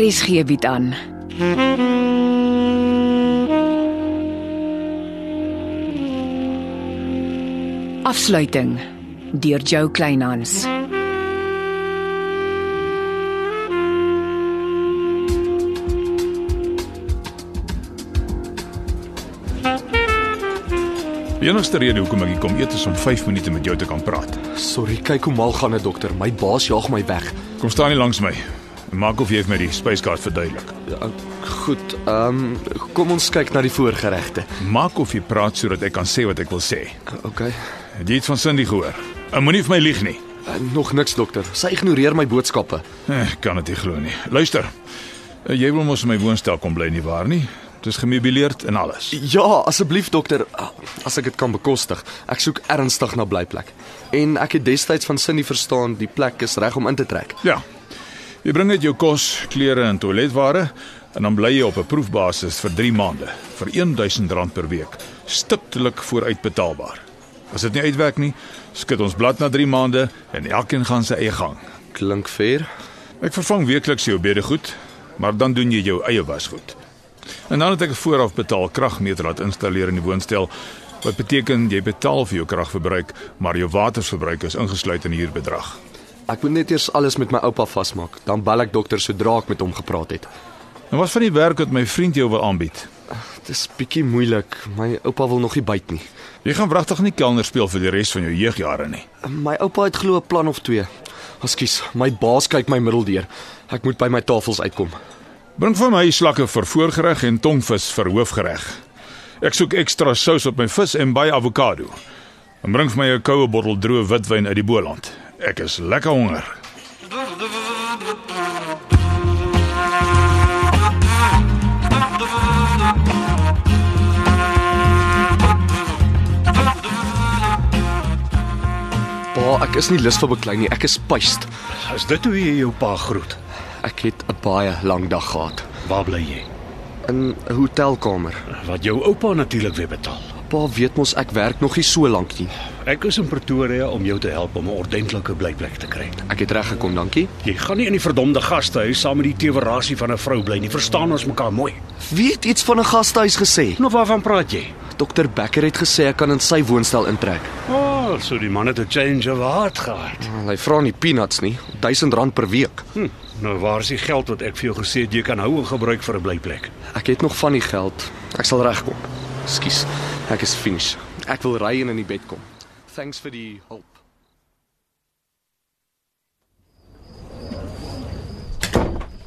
RSG Er bied aan. Afsluiting deur Jo Kleinhans. Die enigste rede hoekom ek hier kom eet is om 5 minute met jou te kan praat. Sorry, kyk hoe mal gaan dit dokter. My baas jaag my weg. Kom staan nie langs my en maak of jy het my die spyskaart verduidelik. Ja, goed, ehm um, kom ons kyk na die voorgeregte. Eh, Maak of jy praat sodat ek kan sê wat ek wil sê. Okay. Het jy iets van Cindy gehoor? En moenie vir my lieg nie. Uh, nog niks dokter. Sy ignoreer my boodskappe. Ek Eh, kan dit nie glo nie. Luister. eh, Jy wil mos in my woonstel kom bly nie waar nie? Dit is gemeubileerd en alles. Ja, asseblief dokter, Ah, as ek dit kan bekostig. Ek soek ernstig na blyplek. En ek het destyds van Cindy verstaan die plek is reg om in te trek. Ja. Jy bring net jou kos, klere en toiletware en dan bly jy op 'n proefbasis vir 3 maande vir R1000 per week, stiptelik vooruitbetaalbaar. As dit nie uitwerk nie, skud ons blad na 3 maande en elkeen gaan sy eie gang. Klink fair? Ek vervang weekliks jou bedegoed, maar dan doen jy jou eie wasgoed. En dan het ek 'n vooraf betaal kragmeter laat installeer in die woonstel. Wat beteken jy betaal vir jou kragverbruik, maar jou waterverbruik is ingesluit in die huurbedrag. Ek moet net eers alles met my oupa vasmaak. Dan bel ek dokter sodra ek met hom gepraat het. En wat van die werk wat my vriend jou wil aanbied? Dit is bietjie moeilik. My oupa wil nog nie byt nie. Jy gaan wragtig nie kelner speel vir die res van jou jeugjare nie. My oupa het glo 'n plan of twee. Ekskuus, my baas kyk my middeldeur. Ek moet by my tafels uitkom. Bring vir my slakke vir voorgereg en tongvis vir hoofgereg. Ek soek ekstra sous op my vis en baie avokado. En bring vir my 'n koue bottel droë witwyn uit die Boland. Ek is lekker honger. Pa, ek is nie lus vir beklei nie. Ek is pyst. As dit hoe jy jou pa groet, Ek het 'n baie lang dag gehad waar bly jy? in 'n hotelkamer. Wat jou oupa natuurlik weer betaal. Pa weet mos ek werk nog nie so lank nie. Ek is in Pretoria om jou te help om 'n ordentlike blyplek te kry. Ek het reg gekom, dankie. Jy gaan nie in die verdomde gastehuis saam met die tewerasie van 'n vrou bly nie. Verstaan ons mekaar mooi? Wie het iets van 'n gastehuis gesê? Nou waarvan praat jy? Dokter Becker het gesê ek kan in sy woonstel intrek. O, oh, so die man het 'n change of heart gehad. Wel, Hy vra nie peanuts nie, R1000 per week. Hm, nou waar is die geld wat ek vir jou gesê het jy kan hou en gebruik vir 'n blyplek? Ek het nog van die geld. Ek sal regkom. Ekskuus. Ek is finish. Ek wil ry en in die bed kom. Thanks vir die hulp.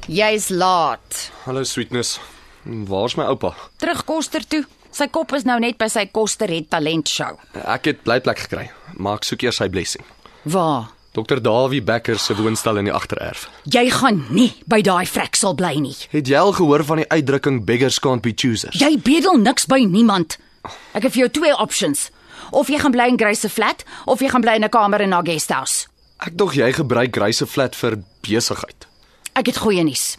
Jy's laat. Hallo sweetness. Waar's my oupa? Terug koster toe. Sy kop is nou net by sy koster het talent show. Ek het blyplek gekry, maar ek soek eers sy blessing. Waar? Dokter Dawie Becker se woonstel in die agtererf. Jy gaan nie by daai freksel bly nie. Het jy al gehoor van die uitdrukking beggars can't be choosers? Jy bedel niks by niemand. Ek het vir jou twee options. Of jy gaan bly in Grace se flat of jy gaan bly in 'n kamer in haar guesthouse. Ek dog jy gebruik Grace se flat vir besigheid. Ek het goeie nuus.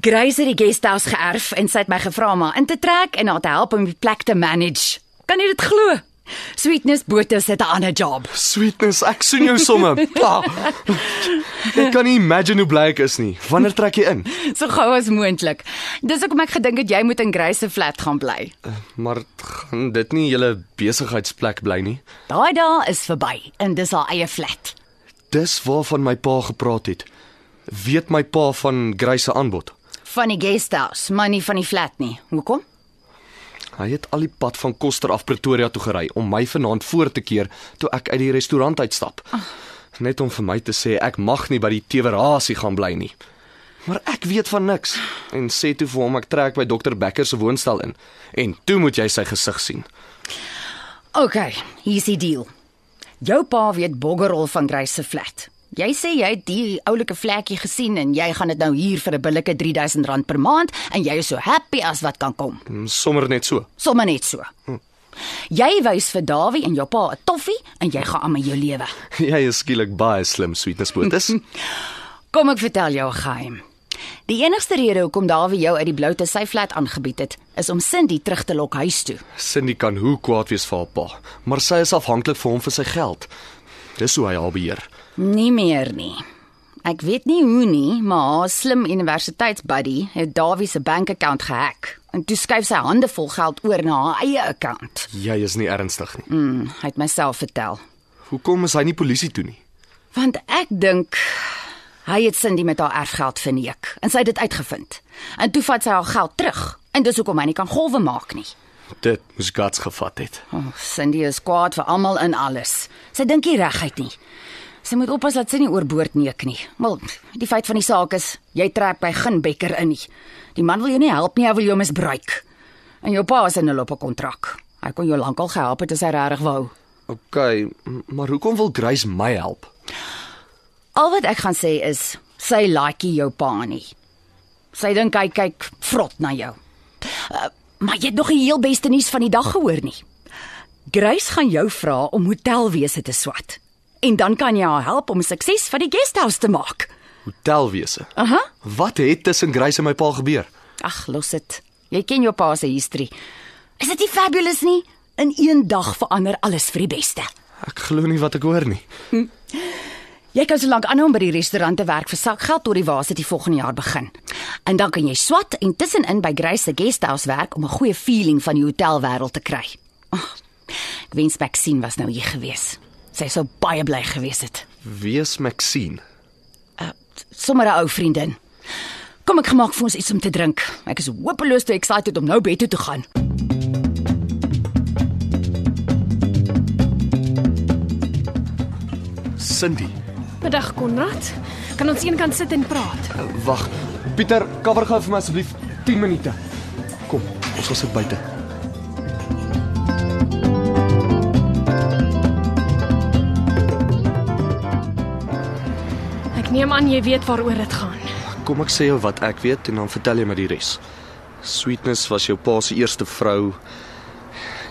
Grace het die guesthouse geërf en sy het my gevra om haar in te trek en haar te help om die plek te manage. Kan jy dit glo? Sweetness Botha het 'n ander job. Sweetness, ek soen jou somme. Pa. Ek kan nie imagine hoe bly ek is nie. Wanneer trek jy in? So gou as moontlik. Dis hoekom ek gedink het jy moet in Grace se flat gaan bly. Maar gaan dit nie julle besigheidsplek bly nie? Daai dae is verby en dis haar eie flat. Dis waarvan my pa gepraat het. Weet my pa van Grace se aanbod. Van die guesthouse, maar nie van die flat nie. Hoekom? Hy het al die pad van Koster af Pretoria toe gery om my vanaand voor te keer toe ek uit die restaurant uitstap. Net om vir my te sê ek mag nie by die tewerasie gaan bly nie. Maar ek weet van niks en sê toe vir hom ek trek by dokter Becker se woonstel in en toe moet jy sy gesig sien. OK, hier's die deal. Jou pa weet boggerol van Grace se flat. Jy sê jy het die oulike vlekkie gesien en jy gaan dit nou huur vir 'n billike R3000 per maand en jy is so happy as wat kan kom. Hm, Sommer net so. Sommige net so. Jy wys vir Dawie en jou pa 'n toffie en jy gaan aan met jou lewe. Jy is skielik baie slim, sweetness Botus. Kom ek vertel jou 'n geheim. Die enigste rede hoekom Dawie jou uit die blou te sy flat aangebied het, is om Cindy terug te lok huis toe. Cindy kan hoe kwaad wees vir haar pa, maar sy is afhanklik vir hom vir sy geld. Dis hoe hy haar beheer. Nie meer nie. Ek weet nie hoe nie, maar haar slim universiteitsbuddy het Dawie se bankaccount gehack en toe skuif sy hande vol geld oor na haar eie account. Jy is nie ernstig nie. Mm, hy het myself vertel. Hoekom is hy nie polisie toe nie? Want ek dink hy het Cindy met haar erfgeld verneek en sy het dit uitgevind. En toe vat sy haar geld terug en dis hoekom hy nie kan golwe maak nie. Dit moes gats gevat het. O, oh, Cindy is kwaad vir almal en alles. Sy dink nie reguit nie. Sy moet oppas dat sy nie oorboord neek nie. Wel, die feit van die saak is, jy trek by geen bekker in nie. Die man wil jou nie help nie, hy wil jou misbruik. En jou pa is in 'n loppe kontrak. Hy kon jou lankal gehelp het as hy regtig wou. OK, m- maar hoekom wil Grace my help? Al wat ek gaan sê is, sy laaitjie jou pa nie. Sy dink hy kyk vrot na jou. Uh, maar jy het nog die heel beste nuus van die dag gehoor nie. Grace gaan jou vra om hotelwese te swat. En dan kan jy haar help om sukses van die guesthouse te maak. Hotelwese. Aha. Wat het tussen Grace en my pa gebeur? Ag, los dit. Jy ken jou pa se historie. Is dit nie fabulous nie? In een dag verander alles vir die beste. Ek glo nie wat ek hoor nie. Jy kan solank aanhou om by die restaurant te werk vir sakgeld tot die waarheid die volgende jaar begin. En dan kan jy swat en tussenin by Grace se guesthouse werk om 'n goeie feeling van die hotelwêreld te kry. Oh, ek wens Maxine was nou hier gewees. Sy sou baie bly gewees het. Wees Maxine. Sommer 'n ou vriendin. Kom ek gemaak vir ons iets om te drink. Ek is hopeloos te excited om nou bed toe te gaan. Cindy. Middag Konrad. Kan ons eenkant sit en praat? Uh, Wag. Pieter, cover gou vir my asseblief 10 minute. Kom, ons gaan sit buite. Ek neem aan jy weet waaroor dit gaan. Kom ek sê jou wat ek weet en dan vertel jy my die res. Sweetness was jou pa se eerste vrou.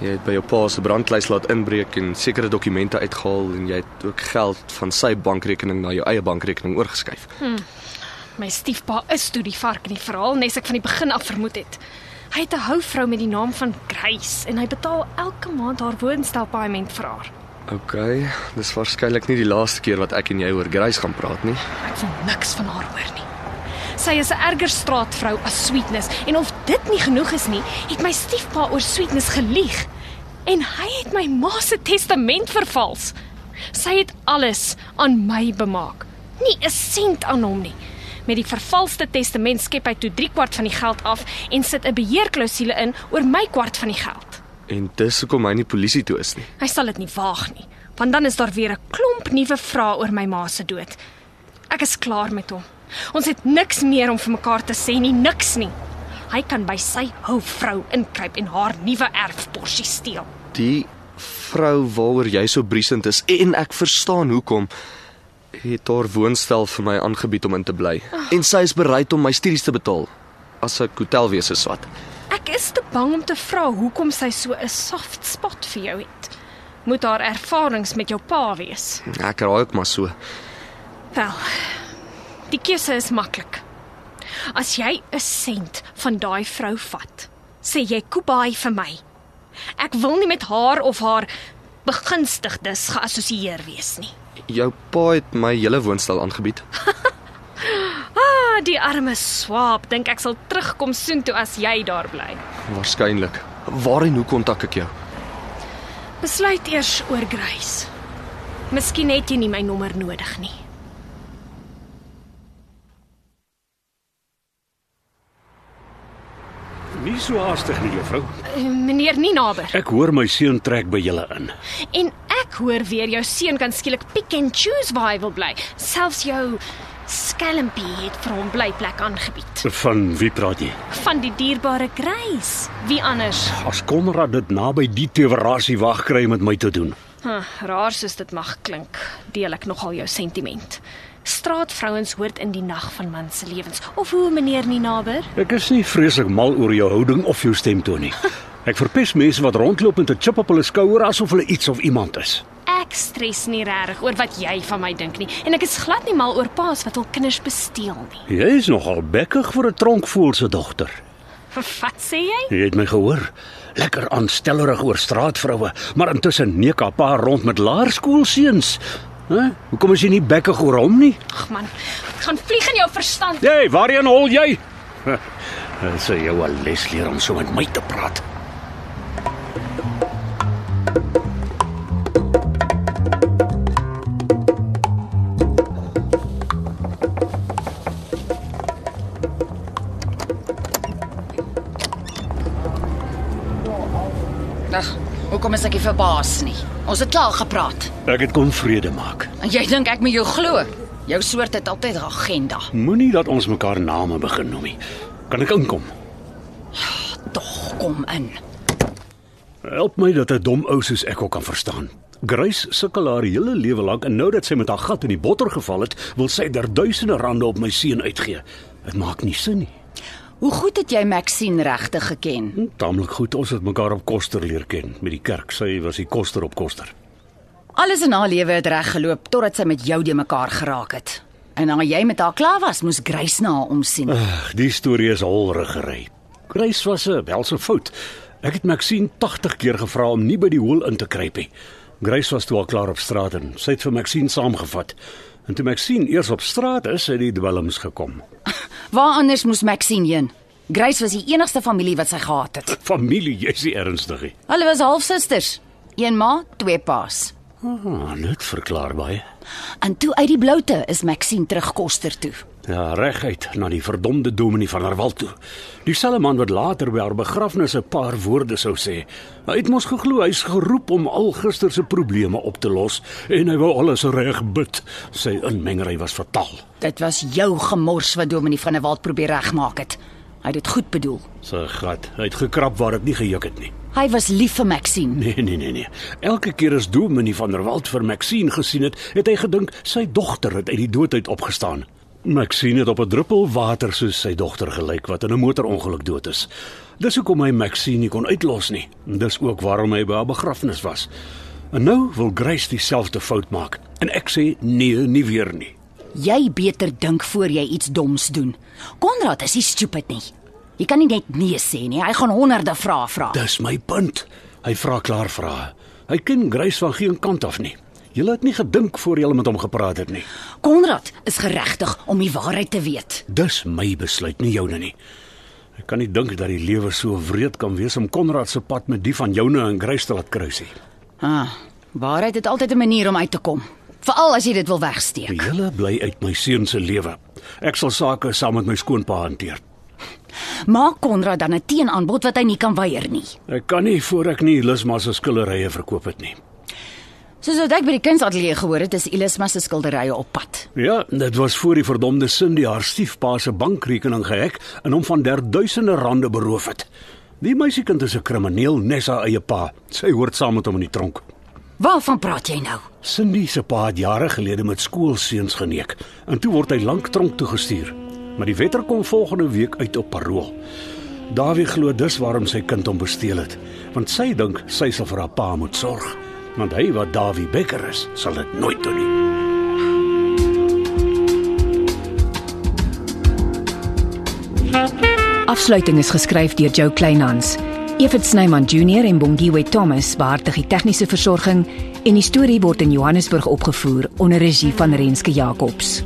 Jy het by jou pa se brandkluis laat inbreek en sekere dokumente uitgehaal en jy het ook geld van sy bankrekening na jou eie bankrekening oorgeskuif. My stiefpa is toe die vark in die verhaal, nes ek van die begin af vermoed het. Hy het 'n houvrou met die naam van Grace en hy betaal elke maand haar woonstelpaaiement vir haar. OK, dis waarskynlik nie die laaste keer wat ek en jy oor Grace gaan praat nie. Ek wil niks van haar hoor nie. Sy is 'n erger straatvrou as Sweetness en of dit nie genoeg is nie, het my stiefpa oor Sweetness gelieg en hy het my ma se testament vervals. Sy het alles aan my bemaak. Nie 'n sent aan hom nie. Met die vervalste testament skep hy toe 3 kwart van die geld af en sit 'n beheerklousule in oor my kwart van die geld. En dis hoekom hy nie polisie toe is nie. Hy sal dit nie waag nie, want dan is daar weer 'n klomp nuwe vrae oor my ma se dood. Ek is klaar met hom. Ons het niks meer om vir mekaar te sê nie, niks nie. Hy kan by sy ou vrou inkruip en haar nuwe erfporsie steel. Die vrou waaroor jy so briesend is en ek verstaan hoekom het haar woonstel vir my aangebied om in te bly en sy is bereid om my studies te betaal as ek hotelwese swat. Ek is te bang om te vra hoekom sy so 'n soft spot vir jou het. Moet haar ervarings met jou pa wees. Ek raai ook maar so. Wel. Die keuse is maklik. As jy 'n sent van daai vrou vat, sê jy Kubai vir my. Ek wil nie met haar of haar begunstigdes geassosieer wees nie. Jou pa het my hele woonstel aangebied. Ah, die arme swaap, dink ek sal terugkom soontoe as jy daar bly. Waarskynlik. Waar en hoe kontak ek jou? Besluit eers oor Grace. Miskien het jy nie my nommer nodig nie. Nie so haastig nie, juffrou. Eh, Meneer Ninaber. Ek hoor my seun trek by julle in. En ek hoor weer jou seun kan skielik pick and choose waar hy wil bly. Selfs jou skelmpie het vir hom blyplek aangebied. Van wie praat jy? Van die dierbare Grace. Wie anders? As Konrad dit naby die tewerasie wag kry om met my te doen. Huh, raar soos dit mag klink, deel ek nogal jou sentiment. Straatvrouens hoort in die nag van man se lewens. Of hoe meneer Ninaber? Ek is nie vreeslik mal oor jou houding of jou stemtoon nie. Ek verpes mense wat rondloop met 'n chip op hulle skouer asof hulle iets of iemand is. Ek stres nie regtig oor wat jy van my dink nie en ek is glad nie mal oor paas wat hul kinders besteel nie. Jy is nogal bekkig vir 'n tronkvoël se dogter. Wat sê jy? Jy het my gehoor. Lekker aanstellerig oor straatvroue, maar intussen neek haar pa rond met laerskoolseuns. Hæ? Hoekom is jy nie bekkig oor hom nie? Ag man, Gaan vlieg in jou verstand. Jy, waarheen hol jy? Dit sê jou al les leer om so met my te praat. Ag, hoekom is ek nie verbaas nie? Ons het klaar gepraat. Ek het kom vrede maak. En jy dink ek moet jou glo? Jou soort het altyd 'n agenda. Moenie dat ons mekaar name begin noem nie. Kan ek inkom? Tog kom in. Help my dat 'n dom ou soos ek ook kan verstaan. Grace sukkel haar hele lewe lank en nou dat sy met haar gat in die botter geval het, wil sy daar duisende rande op my seun uitgee. Dit maak nie sin nie. Hoe goed het jy Maxine regtig geken? Hm, Taamlik goed ons het mekaar op koster leer ken met die kerk. Sy was die koster op koster. Alles in haar lewe het reg geloop totdat sy met jou de mekaar geraak het. En nadat jy met haar klaar was, moes Grace na haar omsien. Ag, die storie is holrig gery. Grace was 'n welse fout. Ek het Maxine 80 keer gevra om nie by die hoel in te kruip nie. Grace was toe al klaar op straat en sy het vir Maxine saamgevat. En toe Maxine eers op straat is, het die dwelms gekom. Waar anders moes Maxine heen? Grace was die enigste familie wat sy gehad het. Familie, jy's nie ernstig nie. Hulle was halfsusters. Een ma, twee pa's. Ah, dit verklaar baie. En toe uit die bloute is Maxine terug Koster toe. Ja, reguit na die verdomde dominee van Herwal toe. Dieselfde man wat later by haar begrafnis 'n paar woorde sou sê. Hy het mos geglo hy's geroep om al gister se probleme op te los en hy wou alles reg bid. Sy inmengery was fataal. Dit was jou gemors wat Dominee van der Walt probeer regmaak het. Hy het dit goed bedoel. Sy gat, hy het gekrap waar dit nie gejuk het nie. Hy was lief vir Maxine. Nee, nee, nee, nee. Elke keer as dominee van der Walt vir Maxine gesien het, het hy gedink sy dogter het uit die dood uit opgestaan. Maxine het op 'n druppel water soos sy dogter gelyk wat in 'n motorongeluk dood is. Dis hoekom hy Maxine nie kon uitlos nie. Dis ook waarom hy by haar begrafnis was. En nou wil Grace dieselfde fout maak. En ek sê nee, nie weer nie. Jy beter dink voor jy iets doms doen. Konrad is nie stupid nie. Jy kan nie net nee sê nie. Hy gaan honderde vrae vra. Dis my punt. Hy vra klaar vrae. Hy ken Grace van geen kant af nie. Julle het nie gedink voor julle met hom gepraat het nie. Konrad is geregtig om die waarheid te weet. Dis my besluit, nie joune nie. Ek kan nie dink dat die lewer so wreed kan wees om Konrad se pad met die van joune en Grace te laat kruis nie. Ah, waarheid het altyd 'n manier om uit te kom. Veral as jy dit wil wegsteek. Julle bly uit my seun se lewe. Ek sal sake saam met my skoonpa hanteer. Maak Konrad dan 'n teenaanbod wat hy nie kan weier nie. Ek kan nie voor ek nie Lisma se skillerye verkoop het nie. Soos wat ek by die kunsateljee gehoor het, is Ilisma se skilderye op pad. Ja, dit was voor die verdomde Cindy haar stiefpa se bankrekening gehek en hom van der duisende rande beroof het. Die meisiekind is 'n krimineel, nes haar eie pa. Sy hoort saam met hom in die tronk. Waarvan praat jy nou? Cindy se pa het jare gelede met skoolseuns geneek en toe word hy lank tronk toegestuur. Maar die wetter kom volgende week uit op parol. Dawie glo dus waarom sy kind hom besteel het, want sy dink sy sal vir haar pa moet sorg, want hy wat Dawie Becker is, sal dit nooit doen nie. Afsluiting is geskryf deur Jo Kleinhans. Evit Snyman Junior en Bongwe Thomas beheerdig die tegniese versorging en die storie word in Johannesburg opgevoer onder regie van Renske Jacobs.